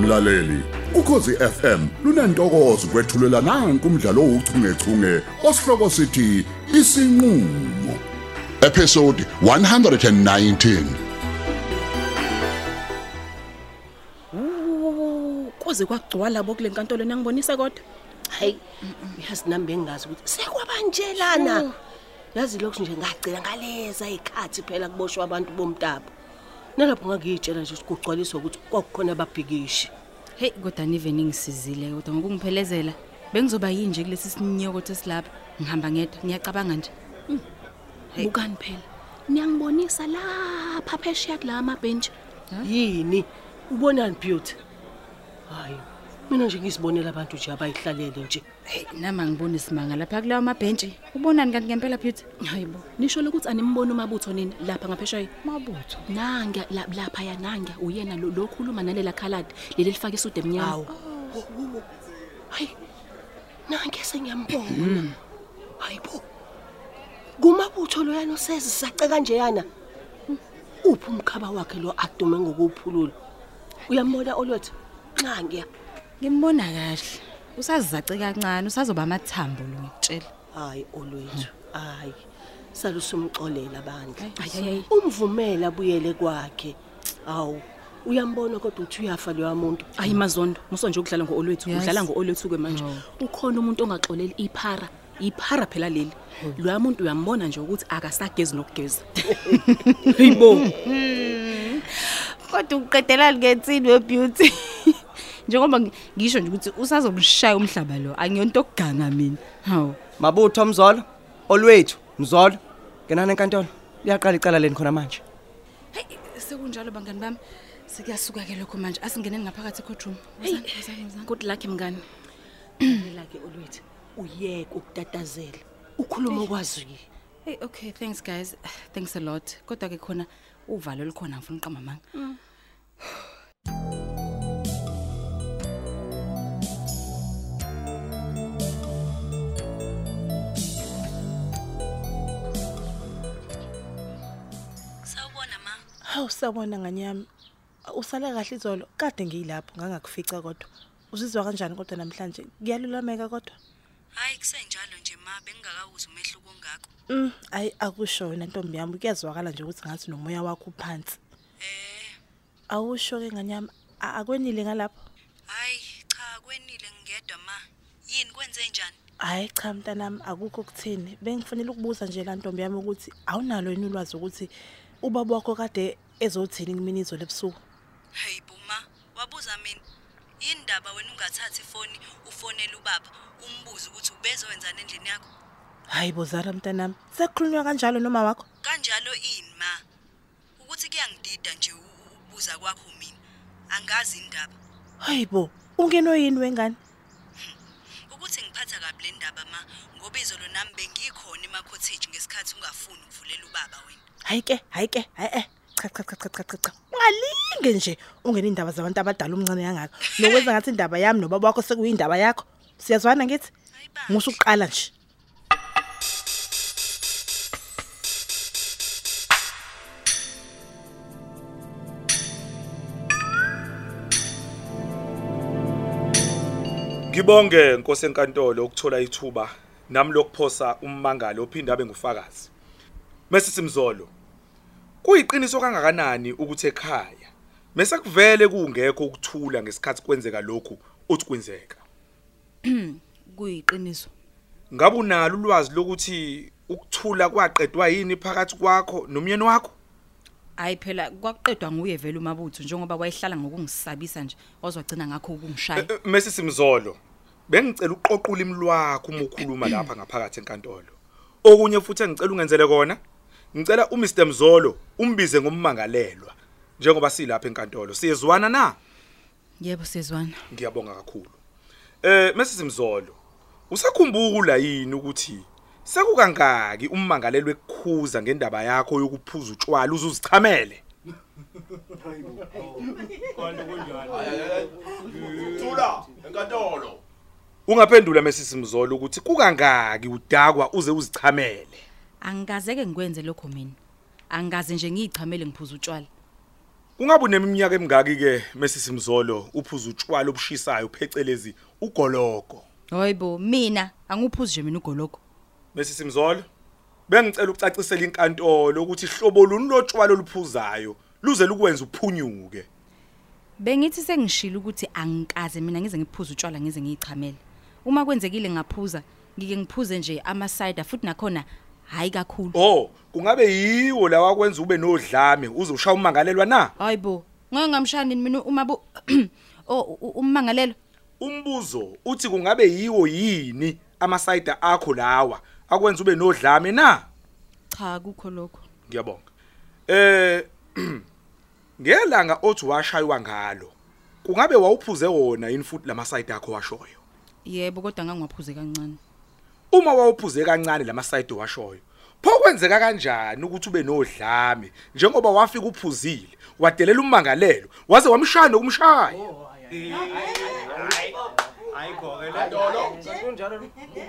mlaleli ukhosi FM lunantokozo kwethulela nange kumdlalo ouchungechunge osihloko sithi isinqulo episode 119 Wu- kuze kwagcwala bo kule nkantolo nangibonisa kodwa hayi uyazi nami bengingazi ukuthi sekwabantshelana yazi lokhu nje ngagcina ngaleza ikhathi phela kuboshwa abantu bomtapo nalapho ngangiyitshela nje ukuthi kugcwaliswa ukuthi kwakukhona ababhikishi heyi kodwa nive ningisizile kodwa ngokungiphelezela bengizoba yini nje kulesi sinyokotho esilapha ngihamba ngedwa ngiyacabanga nje bukani phela niyangibonisa lapha phesheya kula mabhentshi yini ubonani beauty hayi mina nje ngizibonela abantu nje abayihlalele nje heyi nama ngibona isimanga lapha kulawo mabhentshi ubonani kanti ngempela beauty hayi bo nisho lokuthi animboni umabutho nini lapha ngaphesheya mabutho nanga la- laphaya nanga uyena lo- lo khuluma nalela khaladi leli lifake isude emnyama hawu hayi nanke sengiyambona hayi bo kumabutho loyana osezisace kanjeyana uphi umkhaba wakhe lo adume ngokuwuphulula uyambona olwethu nxangiya ngimbona kahle usazizace kancane usazoba amathambo lo tshela hayi olwethu hayi salusumxolela bandla Ayi, ayi, ayi. umvumela buyele kwakhe hawu uyambona kodwa uthi uyafa loya muntu hayi mazondo muso nje ukudlala ngo-olwethu Yes. udlala ngo-olwethu-ke manje ukhona umuntu ongaxoleli iphara iphara phela leli loya muntu uyambona nje ukuthi akasagezi nokugeza eyibo kodwa uqedelani ngensini webeauty njengoba ngi- ngisho nje ukuthi usazomshaya umhlaba lo angiyonto okuganga mina hawu mabutho mzolo olwethu mzolo ngenani enkantolo liyaqala icala leni khona manje heyi sekunjalo bangani bami sekuyasuka-ke lokho manje asingeneni ngaphakathi ecotroom good luck mngani lake olwethu uyeke ukutatazela ukhuluma okwazwile Hey okay thanks guys thanks a lot kodwa ke khona uvalo likhona ngifuna uqamba manga Sawubona ma. Hawu sabona nganyami. Usale kahle izolo. Kade ngiyilapho ngangakufica kodwa. Uzizwa kanjani kodwa namhlanje? Kuyalulameka kodwa. Hayi kusenjalo nje ma bengingakawuzi umehluko ongako. Mm, ayi akushona ntombi yami kuyazwakala nje ukuthi ngathi nomoya wakho uphansi. Eh, Awusho ke nganyami a- akwenile ngalapho. hayi cha kwenile ngingedwa ma. Yini kwenze njani? Hayi cha mntanami akukho kuthini. Bengifanele ukubuza nje la ntombi yami ukuthi awunalo yini ulwazi ukuthi ubaba wakho kade ezothini kumina izolo ebusuku. Hey buma, wabuza mina. Yini ndaba wena ungathathi ifoni ufonele ubaba umbuze ukuthi ubezowenzana endlini yakho? Hayi bozara mntanami. Sekukhulunywa kanjalo noma wakho? Kanjalo ini ma. Ukuthi kuyangidida nje u- u- ukubuza kwakho mina. Angazi indaba. Hayi bo, ungeno yini wengane? Ukuthi ngiphatha kabi le ndaba ma ngoba izolo nami bengikhona emakhotheji ngesikhathi ungafuni ukuvulela ubaba wena. hayi ke hayi ke hayi eh cha cha cha cha cha cha cha ungalinge nje ungena indaba zabantu abadala umncane kangaka nokwenza ngathi indaba yami nobaba wakho sekuyindaba yakho siyazwana ngithi Hayi bandla. ngisho ukuqala nje Ngibonge Nkosi enkantolo ukuthola ithuba nami lokuphosa ummangalo ophinde abe ngufakazi. Mase simzolo. Kuyiqiniso kangakanani ukuthi ekhaya mase kuvele kungekho ukuthula ngesikhathi kwenzeka lokhu uthi kwenzeka. kuyiqiniso Ngabe unalo ulwazi lokuthi ukuthula kwaqedwa yini phakathi kwakho nomyeni wakho? hayi phela kwakuqedwa nguye vele umabutho njengoba wayehlala ngokungisabisa nje wazwagcina ngakho ukungishaya Eh, Mase simzolo. Bengicela uqoqule imlwi wakho uma ukhuluma lapha ngaphakathi enkantolo. Okunye futhi engicela ungenzele kona, ngicela uMr Mzolo umbize ngommangalelwa njengoba silapha enkantolo. Siyezwana na? yebo siyezwana Ngiyabonga kakhulu. Eh Mase simzolo. Usakhumbula yini ukuthi sekukangaki ummangalelwe ekukhuza ngendaba yakho yokuphuza utshwala uzuzichamele? Thula enkantolo. Ungaphendula Mase simzolo ukuthi kukangaki udakwa uze uzichamele. angikazeke ngikwenze lokho mina angikaze nje ngiyichamele ngiphuza utshwala Kungabe uneminyaka emingaki ke mesisimzolo uphuza utshwala obushisayo phecelezi ugologo. Hayibo, mina angiphuzi nje mina ugologo. Mesisimzolo bengicela ukucacisela inkantolo ukuthi hlobo luni lotshwala oluphuzayo luze lukwenza uphunyuke. Bengithi sengishilo ukuthi angikaze mina ngize ngiphuze utshwala ngize ngiyichamele. Uma kwenzekile ngaphuza, ngike ngiphuze nje ama cider futhi nakhona hayi kakhulu. Oh, kungabe yiwo lawa kwenza ube nodlame uze ushaya umangalelwa na? Hayibo, ngoba ngamshani mina uma bu Oh, u- ummangalelo. Umbuzo uthi kungabe yiwo yini amasayida akho lawa akwenza ube nodlame na? Cha, kukho lokho. Ngiyabonga. Eh ngelanga othi washaywa ngalo. Kungabe wawuphuze wona yini futhi lamasayida akho washoyo? Yebo, kodwa ngangwaphuze kancane. Uma wawuphuze kancane lamasayida washoyo. Pho kwenzeka kanjani ukuthi ube nodlame njengoba wafika uphuzile, wadelela ummangalelo, waze wamshaya nokumshaya.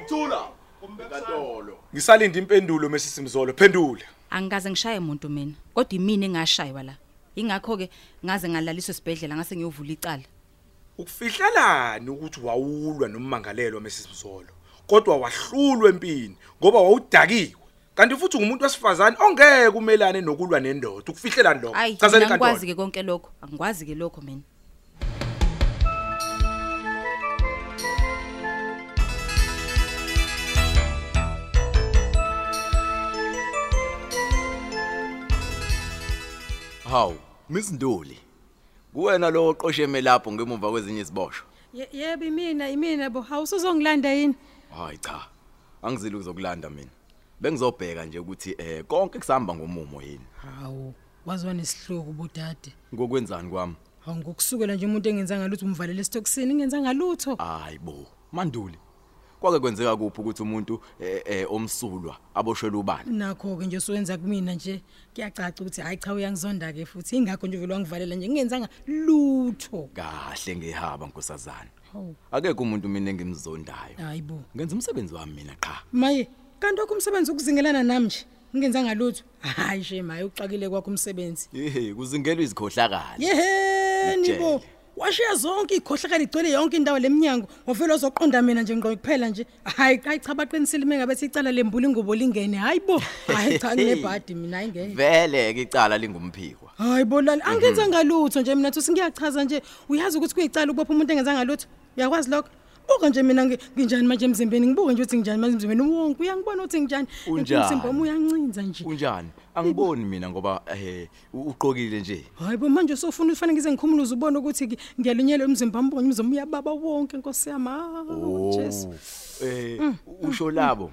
Thula. Enkantolo. Ngisalinda impendulo mesisimzolo, phendula. Angikaze ngishaye umuntu mina, kodwa imini engashaywa la. Ingakho ke ngaze ngalaliswa esibhedlela ngase ngiyovula icala. ukufihlelana ukuthi wawulwa nommangalelwa mesizolo kodwa wahlulwa empini ngoba wawudakiwe kanti futhi ungumuntu wesifazane ongeke umelane nokulwa nendoda ukufihlelana Hayi, lokho mina ngikwazi ke konke lokho. Angikwazi ke lokho mina. Hawu, Miss Nduli. Kuwena lo oqosheme lapho ngemuva kwezinye iziboshwa. Ye- Yebo imina imina bo awusuzongilanda yini? Hayi cha. Angizili ukuzokulanda mina. Bengizobheka nje ukuthi eh konke kusahamba ngomumo yini. Hawu wazwa nesihluku budade. Ngokwenzani kwami? Hawu ngokusukela nje umuntu engenza ngalutho umvalele stoksini ngenza ngalutho. Hayibo, Manduli. Kwake kwenzeka kuphi ukuthi umuntu eh, eh omsulwa aboshwele ubani? Nakho ke nje sowenza kumina nje kuyacaca ukuthi hayi cha uyangizonda ke futhi ingakho nje vele wangivalela nje ngenza ngalutho. Kahle ngehaba nkosazana. Hawu Akekho umuntu mina engimzondayo. hayibo. Ngenza umsebenzi wami mina qha. Maye kanti okumsebenzi ukuzingelana nami nje ngenza ngalutho. Hayi she maye uxakile kwakho umsebenzi. Yehe, kuzingelwe izikhohlakala. Yeheni bo. Washiya zonke ikhohlakala igcwele yonke indawo leminyango wavele wazoqonda mina nje ngqo kuphela nje hayi hayi cha baqinisile mengabe sicala lembula ingubo lingene hayi bo hayi cha nginebhadi mina hayi ngeke Vele ke icala lingumphiko. hayi bo lali angenza ngalutho nje mina thusi ngiyachaza nje uyazi ukuthi kuyicala ukubopha umuntu engenza ngalutho uyakwazi lokho buka nje mina ngi- nginjani manje emzimbeni ngibuke nje ukuthi nginjani manje emzimbeni wonke uyangibona ukuthi nginjani Unjani? Umzimba wami uyancinza nje Unjani? Angiboni mina ngoba eh uqokile nje. hayi bo manje usofuna ufana ngize ngikhumuluze ubone ukuthi ngi- ngiyalunyelwa umzimba wami bonke umzimba uyababa wonke nkosi yami Ah, hawu jesu Eh Mm, usho labo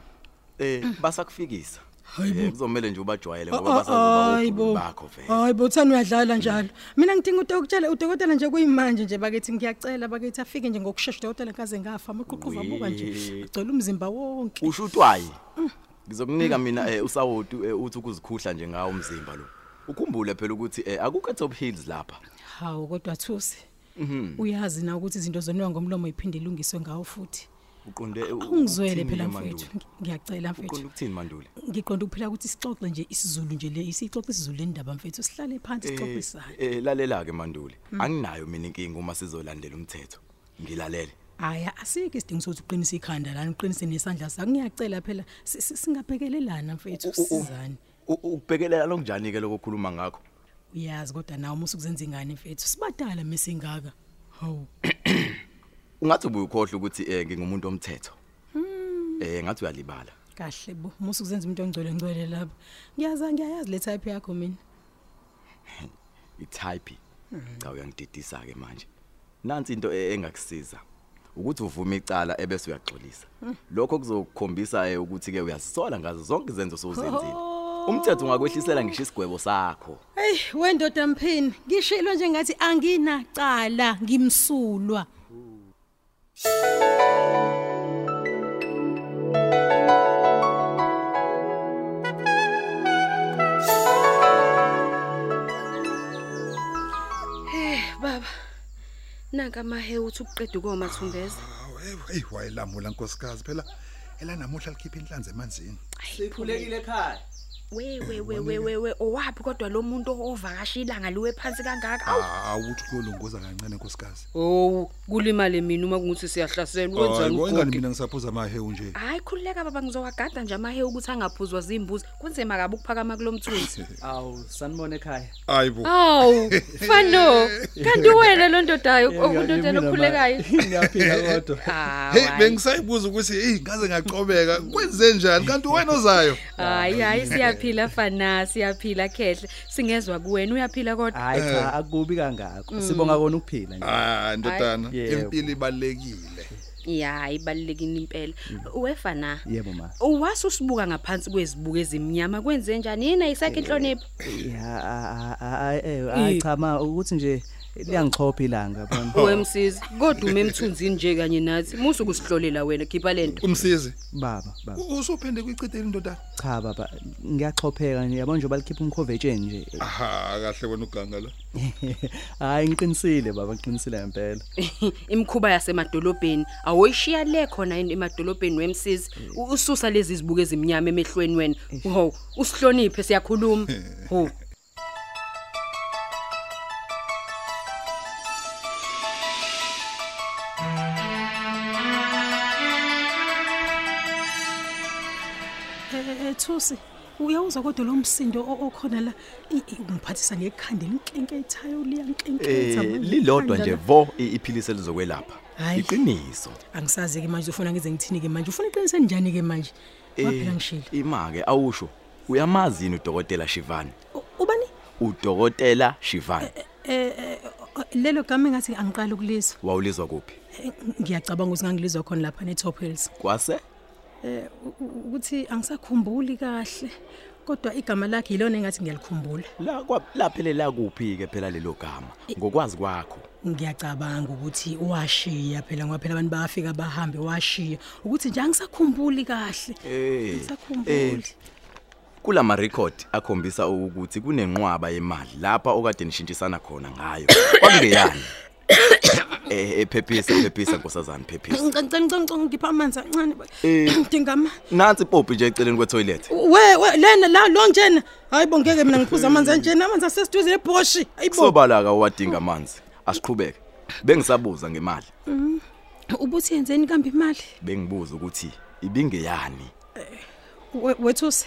eh basakufikisa. bo. Eh, Kuzomele nje ubajwayele ngoba basazoba Ah, hayi bo Ah. bakho hayi bo uthanda uyadlala njalo mina ngidinga udokotela udokotela nje kuyimanje nje bakithi ngiyacela bakithi afike nje ngokushesha udokotela nkaze ngafa amaqhuqhuva abuka nje Wee. agcwele umzimba wonke Ushutwayi. Mm. Ngizokunika mina eh usawotu eh, uthi ukuzikhuhla nje ngawo umzimba lo. Ukhumbule phela ukuthi eh akukho top heels lapha. hawu kodwa thusi Mhm. uyazi na ukuthi izinto zoniwa ngomlomo iphinde ilungiswe ngawo futhi Uqonde ungizwele ukuthini phela ke, mfethu Manduli? ngiyacela mfethu Uqonde ukuthini manduli? ngiqonda ukuphela ukuthi sixoxe nje isizulu nje le isixoxe isizulu le ndaba mfethu sihlale phansi sixoxisane Eh lalela ke manduli. Mm. Anginayo mina inkingi uma sizolandela umthetho. Ngilalele. hayi asike isidingo sokuthi uqinise ikhanda lana uqinise nesandla sakho ngiyacela phela si- si- singabhekelelana mfethu u- u- sisizane U- Ukubhekelela lonjani ke lokukhuluma ngakho? uyazi kodwa nawe uma usukuzenza ingane mfethu sibadala mesingaka hawu Ungathi ubuyukhohle ukuthi eh ngingumuntu omthetho. Eh ngathi uyalibala. kahle bo uma usukuzenza umuntu ongcwele ngcwele lapha ngiyaza ngiyayazi le type yakho mina itype Mm. cha uyangididisa ke manje nansi into e- engakusiza ukuthi uvume icala ebese uyaxolisa Mm. lokho kuzokukhombisa eh, ukuthi ke uyazisola ngazo zonke izenzo sozenzile umthetho ungakwehlisela ngisho isigwebo sakho heyi wendoda mphini ngishilo nje ngathi anginacala ngimsulwa Eh baba. Nanka amahe uthi uqeda ukoma Thumbeza. Eyi wayelamula nkosikazi phela elanamuhla likhipha inhlanzi emanzini. Sikhulekile ekhaya. wewe wewe wewe owapi kodwa lo muntu ovakashila ngaliwe phansi kangaka awu awuthi kuyolunguza kancane nkosikazi Oh, kulimale mina uma kunguthi siyahlaselwa Hayi, wenzani bo, ingani ugogo? mina ngisaphuza amahewu nje Hayi khululeka baba ngizowagada nje amahe ukuthi angaphuzwa zimbuzi kunzima kabi ukuphakama kulomthunzi. Awu, sanibona ekhaya. Hayi bo. Awu, fano, kanti wena lo ndodayo Mina okundodana ma- okhulekayo. Ngiyaphila kodwa. Ah, Hey Hayi. bengisayibuza ukuthi hey ngaze ngaqobeka kwenze njani kanti wena ozayo Ah, Hayi hayi siyaphila fana, siyaphila khehle. Singezwa kuwena uyaphila kodwa. Ah. Hayi cha, akubi Mm. kangako. Sibonga kona ukuphila nje. Ah, ndodana, Yebo. impilo ibalekile. Ya, ibalekile impela. Wefana. Yebo ma. Uwasu sibuka ngaphansi kwezibuko ezimnyama kwenze njani? Yina isakhe inhlonipho. Eh. Ya, e, hayi cha ma ukuthi nje liyangixhopha ilanga bani. Wemsizi, kodwa umemthunzini nje kanye nathi. Musu kusihlolela wena khipha lento. Umsizi. Baba, baba. Usophende kuicithela indodana. Cha baba, ngiyaxhopheka nje yabona nje balikhipha umkhovetsheni nje. Aha, kahle wena uganga la. Hayi ngiqinisile baba, ngiqinisile ngempela. imkhuba yasemadolobheni awoyishiya le khona yini emadolobheni wemsizi U- ususa lezi zibuko ezimnyama emehlweni wena ho usihloniphe siyakhuluma ho Eh, Ethusi, uyawuzwa kodwa lo msindo o- okhona la i- i- ungiphathisa ngekhanda elinkenkeithayo liyankenketha. Eh manje lilodwa ikhanda nje la. vo i- iphilisi elizokwelapha. Hhayi. Iqiniso. Angisazi ke manje ufuna ngize ngithini ke manje? Ufuna iqinise njani ke manje? Waphela ngisho. Eh, Imake awusho. Uyamazi yini uDokotela Shivani? Ubani? uDokotela Shivani. Eh eh, lelo gama engathi angiqali ukulizwa. Wawulizwa kuphi? Eh, Ngiyacabanga ukuthi ngangilizwa khona lapha neTop Hills. Kwase? Eh u- u- ukuthi angisakhumbuli kahle. Kodwa igama lakhe yilona engathi ngiyalikhumbula. La kwa- laphelela kuphi ke phela lelo gama? Ngokwazi kwakho. ngiyacabanga ukuthi washiya phela ngoba phela abantu bayafika bahambe washiya ukuthi nje angisakhumbuli kahle Eh. Ngisakhumbuli. Kula ma record akhombisa ukuthi kunenqwaba yemali lapha okade nishintshisana khona ngayo. Kwakungeyani? Eh ephephisa ephephisa nkosazana phephisa. ngicancane ngipha amanzi kancane Eh. ndingama Nansi Poppy nje eceleni kwetoilet. we we lena la lo njena hayi bongeke mina ngiphuza amanzi anjena amanzi asesiduze nebhoshi ayibo Sobala ka wadinga amanzi. Asiqhubeke. Bengisabuza ngemali. Mm. ubuthi yenzeni kambe imali Bengibuza ukuthi ibingeyani? We- wethuse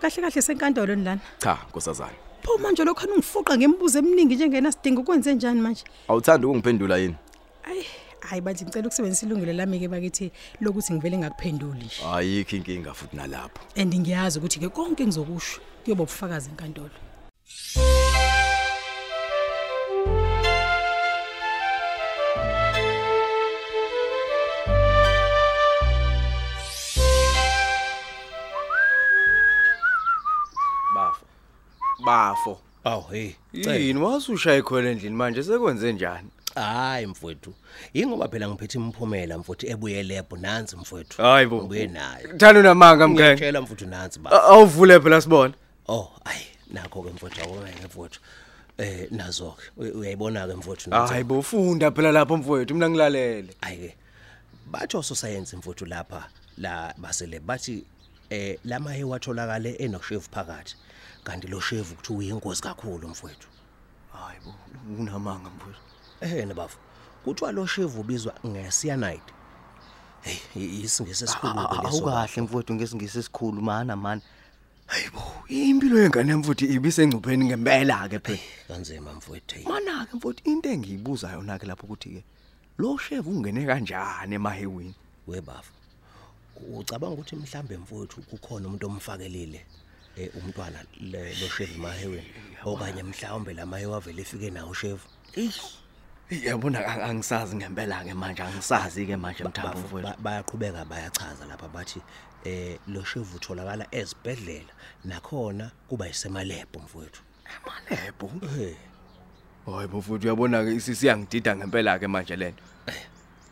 kahle kahle senkandolo ni lana Cha nkosazana. pho manje lokho ungifuqa ngemibuzo eminingi njengena sidingo kwenze njani manje Awuthandi ukungiphendula yini? hayi manje ngicela ukusebenzisa ilungelo lami ke bakithi lokuthi ngivele ngakuphenduli Ayikho inkinga futhi nalapho. and ngiyazi ukuthi ke konke engizokusho kuyoba ubufakazi enkantolo bafo bafo Aw hey yini wasushaye khona endlini manje sekwenze njani hayi mfowethu ingoba phela ngiphethe imphumela mfowethu ebuye lebo nansi mfowethu Hayi bo. ngibuye nayo Thanda unamanga, mkhenge. Ngiyakutshela mfowethu nansi ba A- awuvule phela sibone oh ayi nakho ke mfowethu awuweke mfowethu eh nazo ke uyayibona ke mfowethu hayi bo funda phela lapho mfowethu mina ngilalele hayi ke batho ososayensi mfowethu lapha la basele bathi eh lamahe watholakale enoshevu phakathi kanti lo shevu kuthiwa uyingozi kakhulu mfowethu hayi bo unamanga mfowethu ehena bafo kuthiwa lo shevu ubizwa ngesyanide hey isingesi esikhulu awukahle mfowethu ngesingisi esikhulu mana mana hayi bo impilo yengane mfowethu ibisengcupheni ngempela ke phela kanzima mfowethu mana ke mfowethu into engiyibuza yona ke lapho ukuthi ke lo chef ungene kanjani emahewini webafo ucabanga ukuthi mhlambe mfowethu kukhona umuntu omfakelile eh, umntwana le- lo shevu maheweni okanye mhlawumbe lamahewe avele efike nawo shevu yabona a- angisazi ngempela ke manje angisazi ke manje mthambo Bafo, ba- bayaqhubeka bayachaza lapha bathi eh lo shevu utholakala ezibhedlela nakhona kuba yisemalebho mfowethu emalebho Eh. hayi bo mfowethu uyabona ke sisiyangidida ngempela ke manje lento Eh.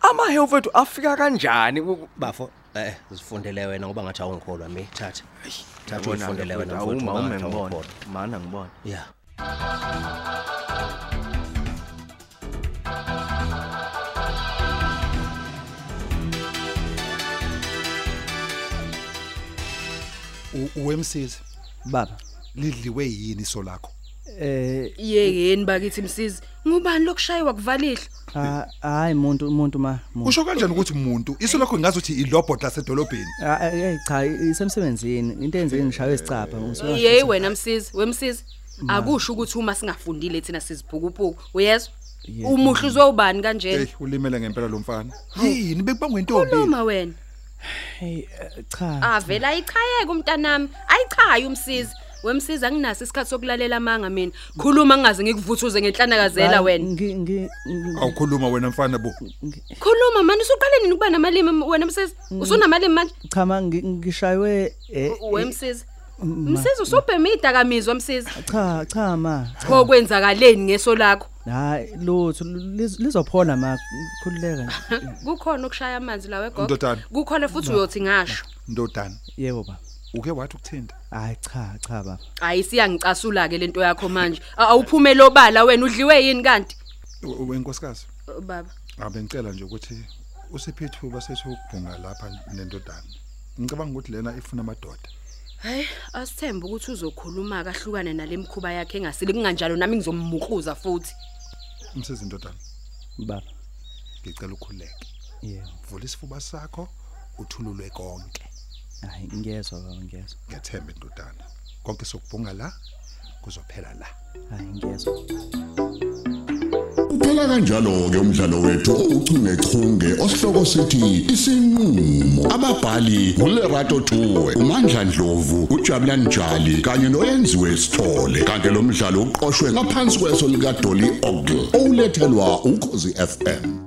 amahewu mfowethu afika kanjani bafo eh zifundele wena ngoba ngathi awungikholwa mi thatha thatha Yabona-ke uyifundele wena mfowethu, mfowethu awuma, ngoba ume ngathi ngibone. awungikholwa. mana ngibona ya U- Wemsizi. Baba, u-M lidliwe yini iso lakho? eh yekeni bakithi msizi ngubani lokushayiwa kuvalihlo ah, hayi muntu umuntu ma muntu. Usho kanjani ukuthi umuntu? Iso lakho ngingazi ukuthi ilobot lasedolobheni. Ah, eh, eh, cha isemsebenzini into enzekile ngishawe isicapha ngisuka yeyi wena msizi wemsizi akusho ukuthi uma singafundile thina sizibhukupuku uyezwa Yebo. umuhle uzowubani kanjena Oh, Hey, ulimele ngempela lo mfana. Yini bekubangwe intombi? noma wena hey eh, cha avela ayichayeke umntanami ayichaye umsizi wemsiza anginaso isikhathi sokulalela amanga mina khuluma ngingaze ngikuvuthuze ngenhlanakazela Hayi, wena ngi- ngi- ngi- Awukhuluma wena mfana bo. khuluma mani usuqaleni ukuba namalimi wena msizi usunamalimi manje cha ma ngi- ngishaywe eh, wemsiza ma. msizi usubhema idakamizwa msiza cha cha ma pho kwenzakaleni ngeso lakho hayi lutho liz- lizophola ma khululeka nje. kukhona ukushaya amanzi lawe gogo Ndodana. kukhona futhi Ma. uyothi ngasho Ndodana. Yebo baba. Uke wathi ukuthinta? hayi cha cha baba hayi siyangicasula ke lento yakho manje A- awuphumele obala wena udliwe yini kanti U- Wenkosikazi. baba Abengicela nje ukuthi usiphethuba sethu ukubhunga lapha nendodana. Ngicabanga ukuthi lena ifuna amadoda. hayi asithembe ukuthi uzokhuluma kahlukane nalemkhuba yakhe engasile kunganjalo nami ngizommukuza futhi Umsizi indodana. Baba. Ngicela ukhuleke. Yebo. Vula isifuba sakho uthululwe konke. hayi ngiyezwa baba ngiyezwa Ngiyathemba indodana. Konke sokubhunga la kuzophela la. hayi ngiyezwa Kuphela kanjalo ke umdlalo wethu ouchungechunge osihloko sithi isinqulo. Ababhali uLerato Tuwe, uMandla Dlovu, uJabulani Njali kanye noyenziwe Sithole. Kanti lo mdlalo uqoqwwe ngaphansi kweso lika Dolly Ogle. Olethelwa ukhozi FM.